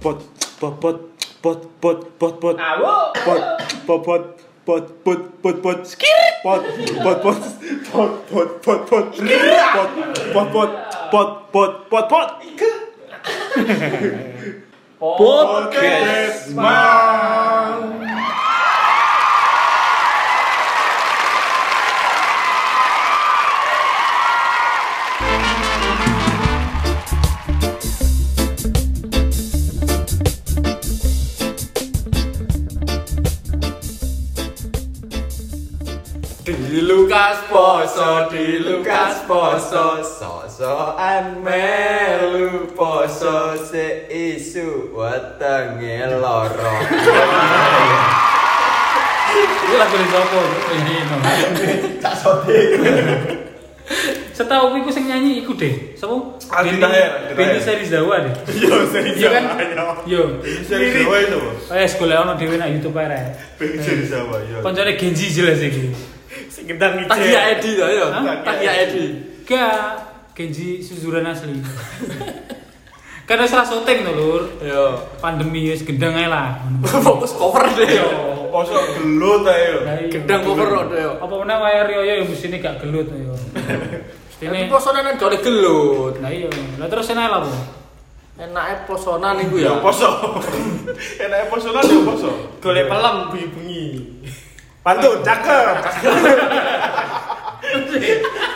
pot pot pot pot pot pot pot Awo. pot pot pot pot pot pot pot skir pot pot pot pot pot pot pot pot pot pot pot pot pot pot podcast mang Di Lukas poso, di Lukas poso, sosokan melu poso seisu wetenge loro. Ini lagu dari siapa? Ini no. Tak sote. Setahu aku sing nyanyi iku deh. Sapa? Aldi Beni- Taher, Aldi Beni Taher. seri Jawa deh. Yo sing Iya kan? Jawa. Yo. Sing Jawa itu. Eh sekolah ono dhewe nak YouTube ae. Rek. Sing Jawa yo. Koncone Genji jelas iki. sing gendang Ah, iya. Takia Edi to yo. Hah? Takia Edi. Ga Genji suzuran asli. Karena salah syuting to, Lur. Yo. Pandemi wis gendeng ae lah. Fokus cover deh yo. poso gelut ayo Gendang cover deh yo. iya. Apa meneh wae riyo yo musine gak gelut yo. Ini Mestine posonan kan jole gelut. Lah iya. Lah terus enak lah, Bu. Enake posonan iku ya. Ya poso. Enake poso lan ya poso. Golek pelem bengi-bengi. pantun cakep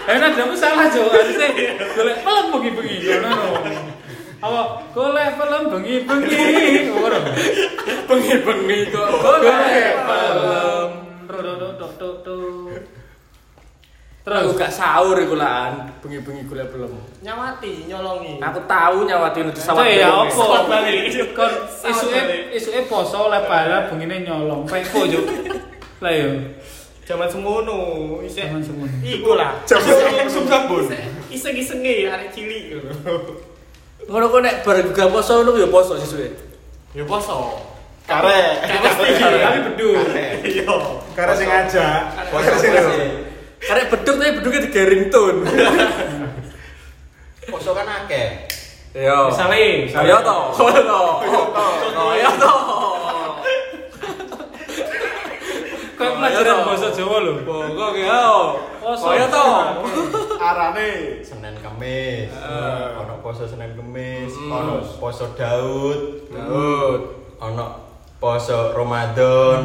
Eh, nah, kamu salah Jo. Harusnya golek pelem bengi-bengi. No, no. Apa golek pelem bengi-bengi? Ora. Bengi-bengi kok. Golek Golek pelem. pelem. Ro, ro, ro, do, do, do. Terus Aku gak sahur iku lan bengi-bengi golek pelem. Nyawati, nyolongi. Aku tahu nyawati nutu sawah. Coy, ya opo? Sawat balik. Kon Sawat isuke balik. isuke poso lek bala bengine nyolong peko Jo. Lah iya. yo. Zaman semono, isek. Zaman semono. Iku lah. Jamu langsung sabun. Iseng-isenge arek cilik ngono. Ngono kok nek bar gak poso ngono ya poso sisuke. Ya poso. Karek. Gak mesti Tapi bedu. Iya. karena sing ngajak Poso sih. Karek beduk tapi beduknya digaring tun. Poso kan akeh. Yo. Misale, misale. Yo to. Yo to. Yo to. Kayak pelajaran bahasa Jawa lho. Bongkok ya. Poso. Yo to. Arane. Senin Kemis. Ono poso Senin Kemis, Eh. Hmm. ono poso Daud, Daud. ono poso Hmm. Ramadan.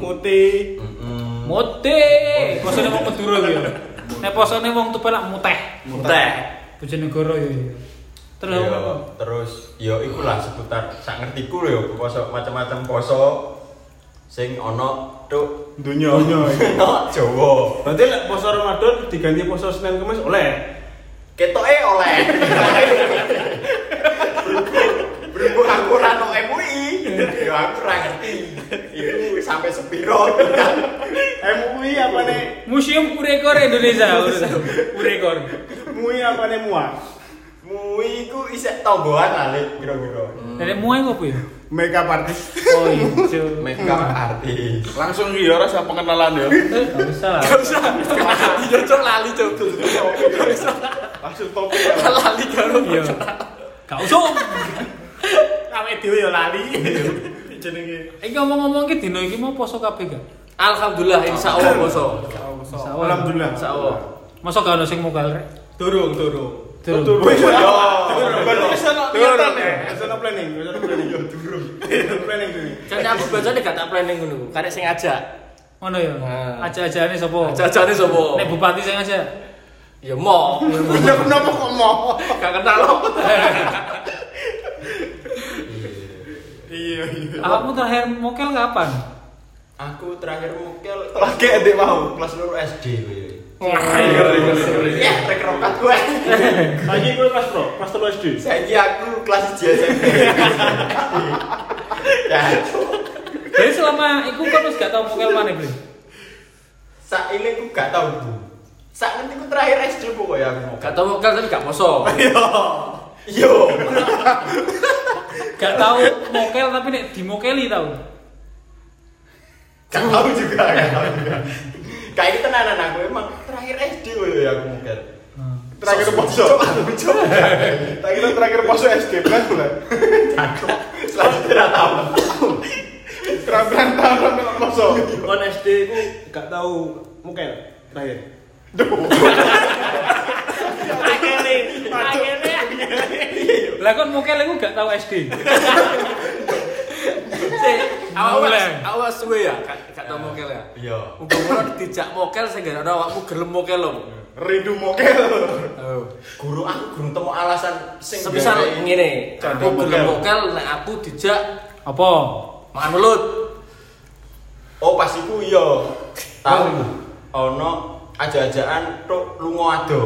Mute. Heeh. Mute. Oh, Posone wong Madura kuwi. ya. Nek posone wong Tupel lak muteh. Muteh. Bojonegoro ya. ya. Terus Yo, apa? terus yo ikulah seputar sak ngertiku lho yo poso macam-macam poso sing ono tuk Dunya. Dunya. ono Jawa. Berarti lek poso Ramadan diganti poso Senin Kamis oleh. Ketoke oleh. Berhubung aku ora no MUI, yo aku ora ngerti. Iku sampai sepiro. Eh, MUI apa nih? Museum Urekor Indonesia. Urekor. MUI apa nih mua? Mui ku isek tombohan lah Lid, kira-kira. Dari muai apa ya? Makeup artist. Oh iya. Makeup artis. Langsung ki ora usah pengenalan ya. Enggak usah lah. Yo cok lali cok. Langsung topik. ya. Lali karo. Iya. Gak usah. Rame dhewe ya lali. Jenenge. Iki ngomong-ngomong iki dino iki mau poso kabeh gak? Alhamdulillah insyaallah poso. Alhamdulillah. Insyaallah. Masa gak ono sing mau kalrek? Durung, durung. Turun. Wih, yo. Wis ana niatan ya. Wis ana planning, wis ana planning. Yo durung. Planning dulu. Jadi aku bacane gak tak planning ngono. Karek sing ngajak. Ngono ya. Nah. Aja-ajane sapa? Jajane sapa? Nek bupati sing aja. Ya mau. Ya kenapa kok mau? Gak kenal lo. Iya, iya. Aku terakhir mokel kapan? Aku terakhir mukil Lagi adik mau. kelas loro SD gue. Oh, Iya. Ya, rek rokat gue. Lagi gue kelas pro, kelas telu SD. Saiki aku kelas 1 SMP. Ya, Jadi selama iku kan wis gak tau mokel mana, Bro. sak ini ku gak tau bu. Sak nanti ku terakhir SD pokoknya aku mau. Gak tau mau kan gak poso. Yo, Gak tau mokel tapi nek dimokeli tau. gak tau juga, gak tau juga. Kayak ini tenanan aku emang terakhir SD gue ya aku mukil. Terakhir poso. Kita terakhir poso SD kan pula. Jan. Selanjutnya ra tau. Terang-terang tahun melok poso. Kon SD ku gak tau mukel terakhir. Akhirnya, akhirnya. Lah kon mukel iku gak tau SD. Sik, awak Mulai. awak suwe ya, gak gak tau mokel ya. Iya. Muga-muga dijak mokel sing gak ono awakmu gelem mokel lho. Rindu mokel. Oh. Guru aku gurung temu alasan sing Semisal gawe- ngene, Contoh aku mokel. gelem mokel nek aku dijak Apa? mangan welut. Oh pas iku iya. Tahu ono aja-ajaan tok lunga ado.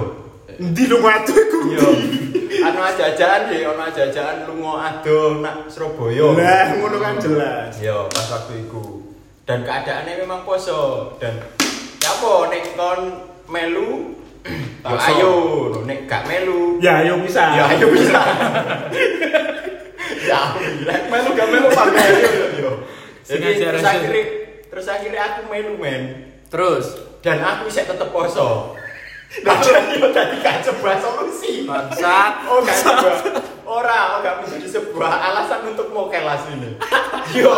Endi lu ngatu iku? Iya. Anu aja-ajaan sih, ono aja-ajaan lunga ado nak Surabaya. Lah ngono kan jelas. Yo, pas waktu itu dan keadaannya memang poso dan ya apa nek kon melu yo Poso. ayo nek gak melu Ya ayo bisa. ya ayo bisa ya bilang Melu gak melu pakai ayo. yo Sing jadi ajar terus aja. akhirnya terus akhirnya aku melu men Terus dan aku bisa tetep poso padahal yo tadi gak coba solusi bangsat oh gak coba ora oh gak bisa disebut alasan untuk mau kelas ini yo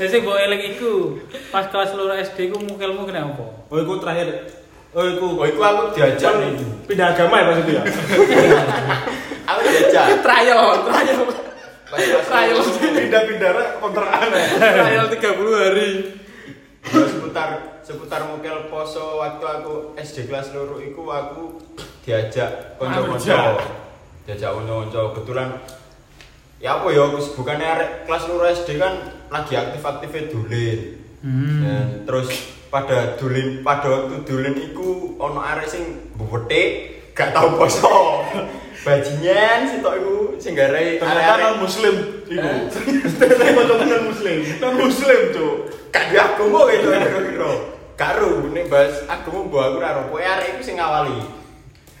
Ya sing mbok eling iku pas kelas loro SD ku mukelmu kena apa? Oh, iku terakhir. Oh, iku oh itu aku diajak nih pindah agama ya maksudnya ya. aku diajak trial, trial. Trial. Pindah-pindah rek, kontrakan. ya. Trial 30 hari. Kalau seputar seputar mokel poso waktu aku SD kelas loro iku aku diajak kanca-kanca. Diajak kanca-kanca kebetulan ya apa ya wis bukannya arek kelas loro SD kan lagi aktif-aktifnya dolen. Dan terus pada dolen pada waktu dolen iku ono arek sing bubete gak tau poso. Bajingan sitok iku sing garai Ternyata non arek-arek muslim Eh. iku. Ternyata non muslim. Non muslim, Cuk. kadhe agama gitu kira-kira. Karo nek bahas agama mbok aku ora ro. Pokoke arek iku sing ngawali.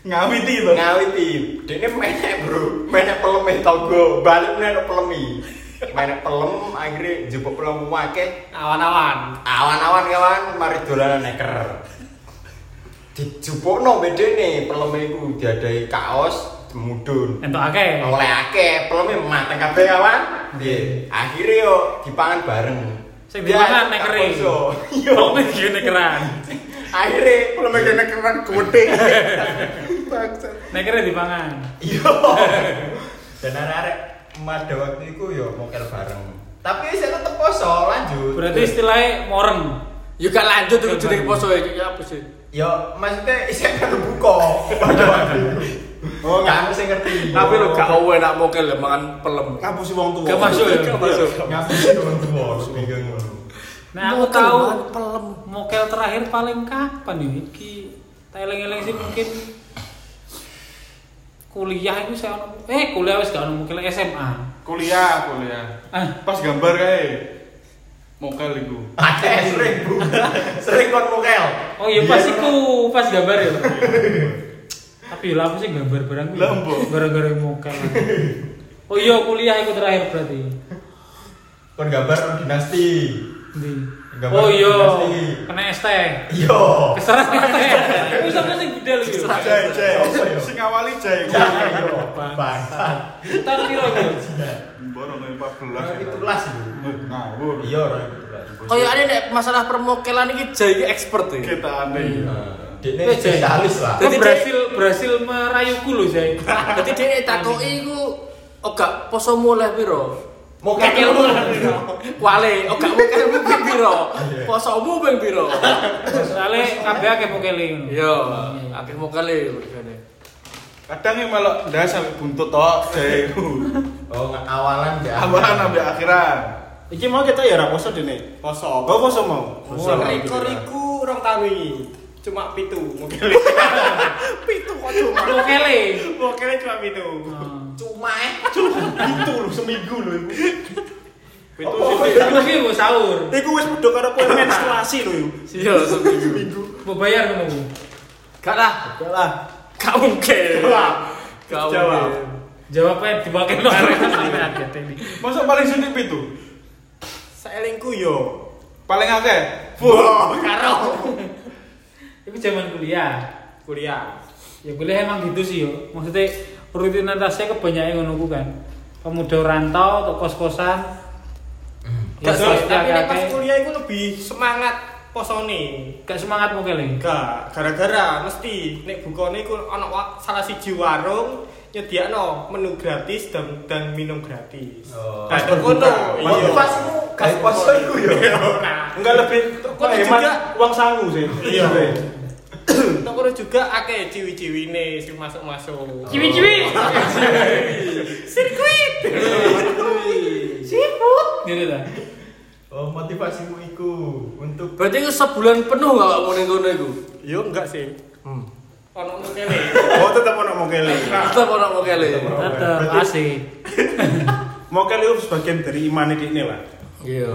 Ngawiti to. ngawiti dene menek bro menek pelem eh togo balik menek pelemi menek pelem akhirnya jebuk pelem akeh Awan-awan. awan-awan kawan mari dolanan neker dijupuk no beda nih pelem iku diadai kaos mudun Entuk akeh. oleh akeh pelem mateng kabeh kawan Nggih. akhirnya yo dipangan bareng Sing dipangan nekere. Yo, Wong iki nekeran. akhirnya pelem kene keren gede. Nekere dipangan. Iya. Dan arek-arek pada waktu itu yo mokel bareng. Tapi saya tetep poso lanjut. Berarti istilahnya moreng. Yo gak lanjut iku jenenge poso iki ya apa sih? yo maksudnya saya kan buka pada waktu itu. Oh, nggak aku sih ngerti. Oh. Tapi lo gak owe nak mokel lho, mangan pelem. Ngapusi wong tuwa. Gak masuk ya? Gak masuk. ngapain sih orang tua harus bingung. Nah, aku tahu mokel terakhir paling kapan ya iki? Tak eling-eling sih mungkin kuliah itu saya ono eh kuliah wis gak ono mokel SMA. Kuliah, kuliah. Ah. Pas gambar kae. Mokel iku. Ada yang sering bu, sering kon mokel. Oh iya pas iku, pas gambar ya. Tapi lah aku sih gambar barang Lah, mbok. Gara-gara mokel. Oh iya kuliah iku terakhir berarti. Kon gambar kon dinasti. Ndi? Gambar Oh iya, pasti. kena ST. Yo. Keserak ST. Wis sampe sing bedel iki. Jai, jai. Apa ya? Sing ngawali Iya, jai. Jangan yo. Bangsa. Tahun piro iki? Mbok Nah, 14. Itulah sih. Nah, Ngawur. Iya orang itu. Kayaknya nek masalah permokelan iki Jai iki expert ya. Kita aneh. Iya. Dene Eh, Jay. spesialis lah. Kok berhasil berhasil merayuku loh saya. Dadi dhek takoki iku oh gak poso mulai piro? Mau kekel Wale, oh gak mokelmu ping piro? Posomu ping piro? Soalnya kabeh akeh mokele ngono. Yo, akeh e, mokele regane. Kadang yang melok ndas sampe buntut tok jai iku. Oh, nggak awalan ya. Awalan sampai akhiran. Iki mau kita ya ora poso dene. Poso. Oh, poso mau. Poso. Rekor iku rong tahun iki. Cuma pitu mungkin. Pitu kok cuma. Mokele. Pokoknya cuma pitu. Cuma eh. Pitu lu seminggu lu iku. Pitu Terus iki mau sahur. Oh. Iku wis padha karo poin menstruasi lho. iku. Iya, seminggu. Mau bayar ngono. Bu. Gak lah, Enggak lah. gak mungkin. Lah, Gak Jawab. mungkin. Jawabnya dipakai lo arek sampe ada teknik. Masa paling sulit pitu? Saelingku yo. Paling akeh. Wah, Iku zaman kuliah. Kuliah. Ya kuliah emang gitu sih yo. Maksudnya rutinitasnya kebanyakan ngono ku kan. pemuda rantau atau kos-kosan Gak Ya, tapi nek pasti pas akeh-akeh. kuliah itu lebih semangat posone. gak semangat mungkin Ling. Gak, gara-gara mesti nek bukone iku ana wa- salah siji warung nyediakno menu gratis dan, dan minum gratis. Oh. Nah, itu kono. Iya. Motivasimu gak poso iku ya. Enggak lebih Kok hemat juga? uang sangu sih. Iya. Tok kono juga akeh ciwi-ciwine sing masuk-masuk. Ciwi-ciwi. Sirkuit. Gitu dah. Oh, motivasimu iku untuk Berarti itu sebulan penuh gak kamu ning kono iku? Yo enggak sih. Ono ono kene. Oh tetap mau mau kele. Tetep ora mau kele. Tetep Berarti- asik. Mau kele itu sebagian dari iman ini lah. Iya.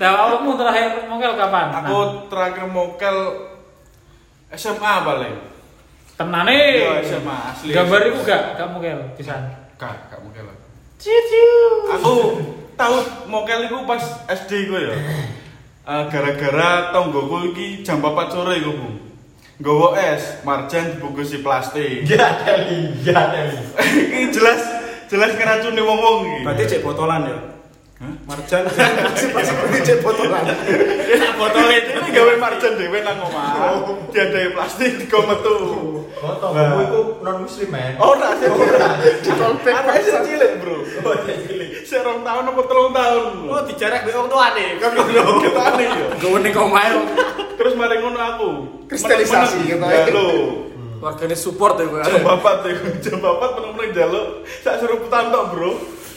Nah, awakmu terakhir mungkin kapan? Nah, Aku terakhir mokel SMA paling. tenane. Iya, SMA asli. Gambar iku gak? Gak mungkin bisa. Kak, kak mokel. Aku tahu mokel itu pas SD gue ya. Eh, gara-gara tonggoku iki jam 4 sore iku, Bu. Nggawa es, marjan dibungkus di plastik. ya Deli, ya Deli. Iki jelas jelas ngeracuni wong-wong iki. Berarti cek botolan ya. Marjan pasti cek botolan. Sak botole dhewe gawe marjan dhewe nang omah. Diadai plastik digo metu. Oh, Foto kamu Oh, iku non muslim men. Ora sih Oh, ora. kolpek. Anak sih cilik, Bro. Oh, cilik. Sik rong tahun apa telung tahun. Oh dijarak mbek wong tuane. Kan ngono ketane yo. Gue ning omahe Terus mari ngono aku. Kristelisasi ketane. ketane. Lho, wargane support ya jam gue. papat iku. Jam papat meneng-meneng njaluk sak seruputan tok, Bro.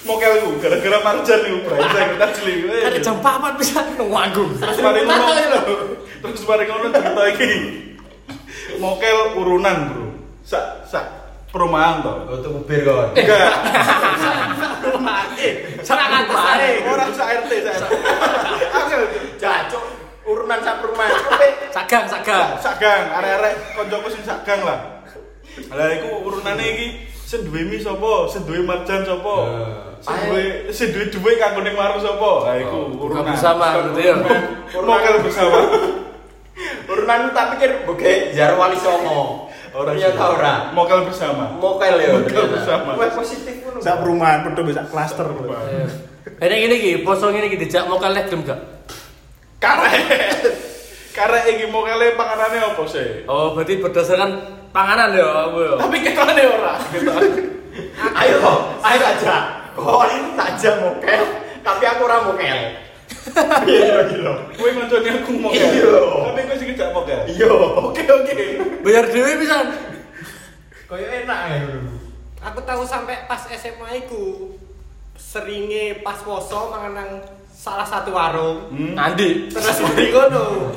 Mokelku gara-gara marjan iku, Bro. Saya kita cilik. Eh, Kan jam 4 bisa nang wanggung. Terus mari ngono. Terus mari ngono cerita iki. Mokel urunan, Bro. Sak sak perumahan toh. Oh, tuku bir kon. Enggak, Salah kata sare. orang sak RT, sak RT. Angel, Jancuk urunan sak perumahan. Kowe Sagang, sagang. sak gang, arek-arek koncoku sing sak gang lah. Lah iku urunane iki sing duwe mi sapa, sing duwe marjan sapa, sing duwe sing duwe dhuwit kanggo ning warung sapa. Lah iku Buka urunan. bersama, gitu ya. Mau kalau bersama. urunan itu tak pikir boge jarum wali songo. Ora ya ta ora. Mau kalau bersama. Mokel ya. Mokel bersama. Kowe positif ngono. Sak perumahan pedo bisa klaster. Iya. Eh, Ini gini ki, poso gini ki dijak mau kalek gelem gak? Karek. Karek iki mau kale panganane apa sih? Oh, berarti berdasarkan panganan ya, aku ya. Tapi ketane ora. Ayo, ayo aja. Kon saja mokel, tapi aku ora mokel. Iya gitu. Kowe ngoncone aku mau kale. Iya. Tapi kowe sing gak mau kale. Iya. Oke oke. Bayar dhewe pisan. Koyo enak ya dulu. Aku tahu sampai pas SMA iku seringe pas poso mangan nang salah satu warung. Hmm. Nanti. Terus mari ngono.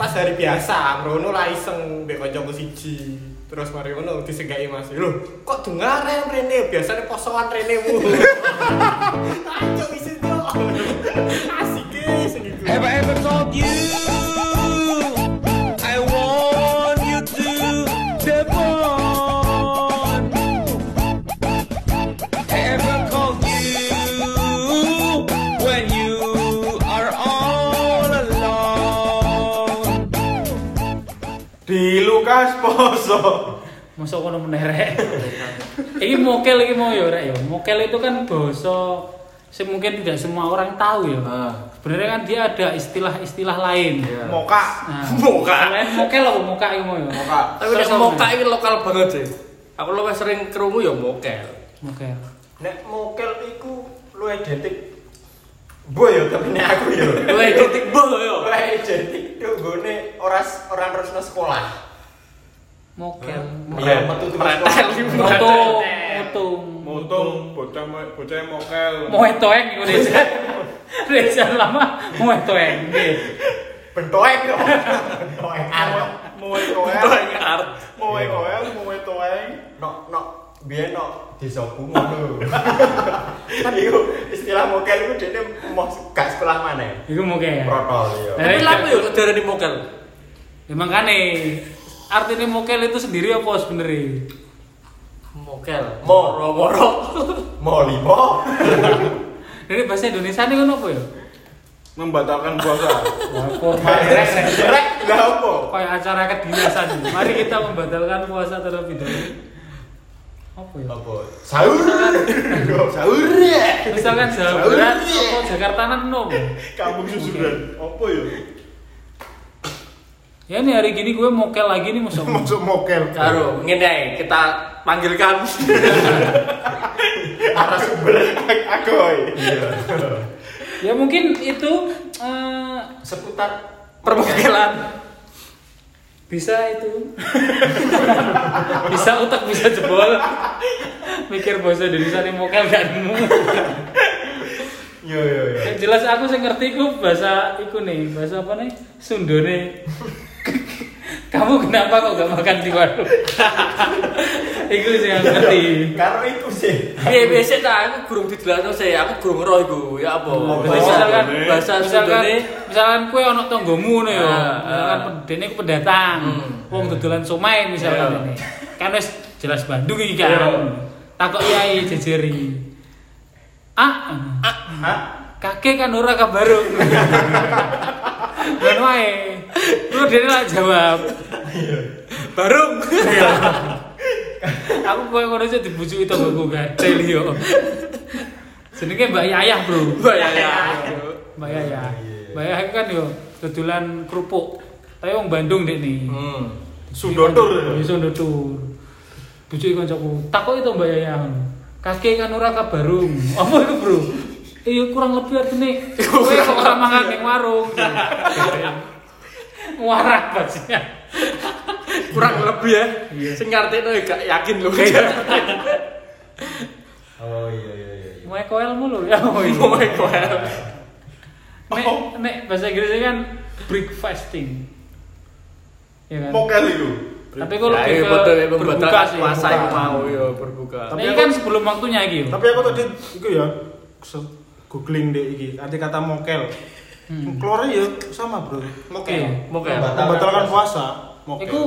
Pas hari biasa, Bruno lah iseng mbek kancaku siji. Terus mari ngono disenggai Mas. Lho, kok dengar rene biasanya posoan rene mu. Ayo isi yo. Asik e sing iku. Di Lukas Poso. Masuk kono meneh rek. Iki mokel iki mau ya rek ya. Mokel itu kan bahasa sing mungkin tidak semua orang tahu ya. Ah. Sebenarnya kan dia ada istilah-istilah lain. Moka. Nah, Moka. selain Mokel apa moka iki mau ya? Moka. Tapi nek Terus moka apa? iki lokal banget sih. Aku luwih sering kerungu ya mokel. Mokel. Nek mokel iku lu identik. Bo yo tapi nek aku ya. yo. Kowe titik boh ya. Lu identik tuh gone ora orang resna sekolah. Mokel. Iya, metu tuh sekolah. Moto, moto. Motung, bocah bocah mokel. Moe toeng iku Reza. Reza lama moe toeng. Nggih. Bentoek yo. Bentoek. Arep. Moe koel. Moe koel, moe toeng. no no biar no desaku ngono tapi yo istilah mokel itu dia mau gak sekolah mana ya Iku mokel. protol yo Eh, Tapi lha apa yo kok diarani mokel? Ya makanya artinya mokel itu sendiri apa sebenarnya? Mokel. Mo. moro-moro. mau limo Dari bahasa Indonesia ini kan apa ya? Membatalkan puasa. Korban. rek gak apa Kayak acara kedinasan. Mari kita membatalkan puasa terlebih dahulu. apa ya? Apa? Sahur. Sahur. ya. Misalkan Jawa Barat apa Jakarta kan nom. Kampung susuran. Apa ya? Ya nih hari gini gue mokel lagi nih masuk. Masuk mokel. Karo ngene ae, kita panggilkan Agoy. Iya. Ya mungkin itu eh, Seputar permokelan. bisa itu. bisa otak bisa jebol. Mikir bahasa Indonesia nih mokel gak nemu. yo yo yo. Yang jelas aku sing ngerti ku bahasa iku nih, bahasa apa nih? Sundone. Kamu kenapa kok gak makan di warung? iku sih yang ngerti. Karo iku sih. Piye piye sik ta aku gurung dijelasno sik, aku gurung roh iku. Ya apa? Jadi misalkan boleh. bahasa misalkan Sundane misalkan kue ono tonggomu ngono ya. Ah, Misalkan ah. Hmm. dene ku pendatang. Wong dodolan somai Iya. misalkan ini. Kan wis jelas Bandung iki Iya. kan. Takok yai jejeri. Ah, kakek kan ora kabaru. Ben wae. Lu dene lak jawab. barung. Aku kowe ngono aja dibujuki tonggoku gatel yo. Jenenge Mbak Yayah, Bro. ya, Bayang. Mbak Yaya. Mbak Yaya kan yo dodolan kerupuk. Tapi wong Bandung dek nih. Hmm. Sundotur. Iya sundotur. Bujuki kancaku, takok itu Mbak Yaya. Kakek kan ora kabarung. Apa itu, Bro? Iya kurang lebih artine kowe kok ora mangan ning warung. Warak bajingan. Kurang lebih ya. Sing ngartekno ya gak yakin lho. Oh iya iya iya. iya. Mau koel mulu ya. Oh, iya. Kowe kowe. Nek nek bahasa Inggrisnya kan break fasting. Ya kan? Mokel itu. Tapi kok lebih ke Ya, betul ya, berbuka pembatas sih. puasa berbuka. iku mau ya berbuka. Nah, ini kan sebelum waktunya iki. yo. Tapi aku tadi iku ya se- googling deh iki arti kata mokel. Hmm. Keluarnya ya sama, Bro. Iya. Oke. Mokel. Membatalkan puasa. Mokel. Iku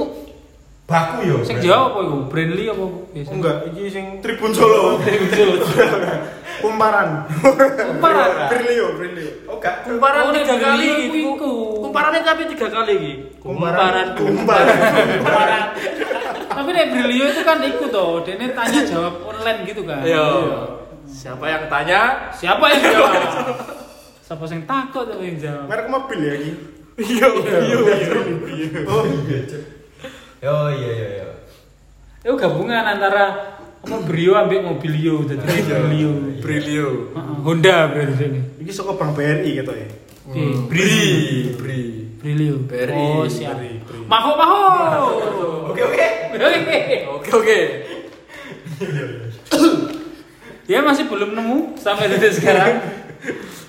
Baku yo. sing Jawa apa iku? Ya, Brandly apa biasa? Enggak, iki sing Tribun Solo. kumparan. Kumparan. Brilio, Brilio. Oh gak. Oh, Kumparan tiga dari kali aku iki. iku. Kumparannya tapi tiga kali gitu. iki. gitu. Kumparan. Kumparan. Tapi nek Brilio itu kan iku to, dene tanya jawab online gitu kan. Yo. Iya. Siapa yang tanya? Siapa yang jawab? Siapa yang takut apa yang jawab? Merek mobil ya iki. Iya, Yo. Yo. Oh iya. Cuk. Yo iya iya iya. Itu gabungan antara apa Brio ambek Mobilio jadi Brilio. Brilio. Heeh, Honda berarti ini. Iki saka Bank BRI gitu ya. Oke, Bri. Bri. Brilio. Beri. Oh, siap. Maho maho. Oke oke. Oke. Oke oke. Dia masih belum nemu sampai detik sekarang.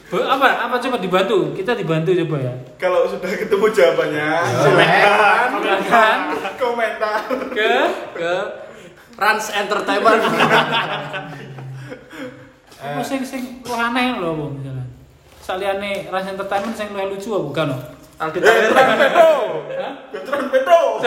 Be- apa apa coba dibantu? Kita dibantu coba ya. Kalau sudah ketemu jawabannya, Iya. silakan Silakan komentar. ke Ke Rans Entertainment. apa sing sing lu aneh lho apa misalnya. Saliyane Ras Entertainment sing luwih lucu apa bukan lho? Aldi Taher. Petro. Petro.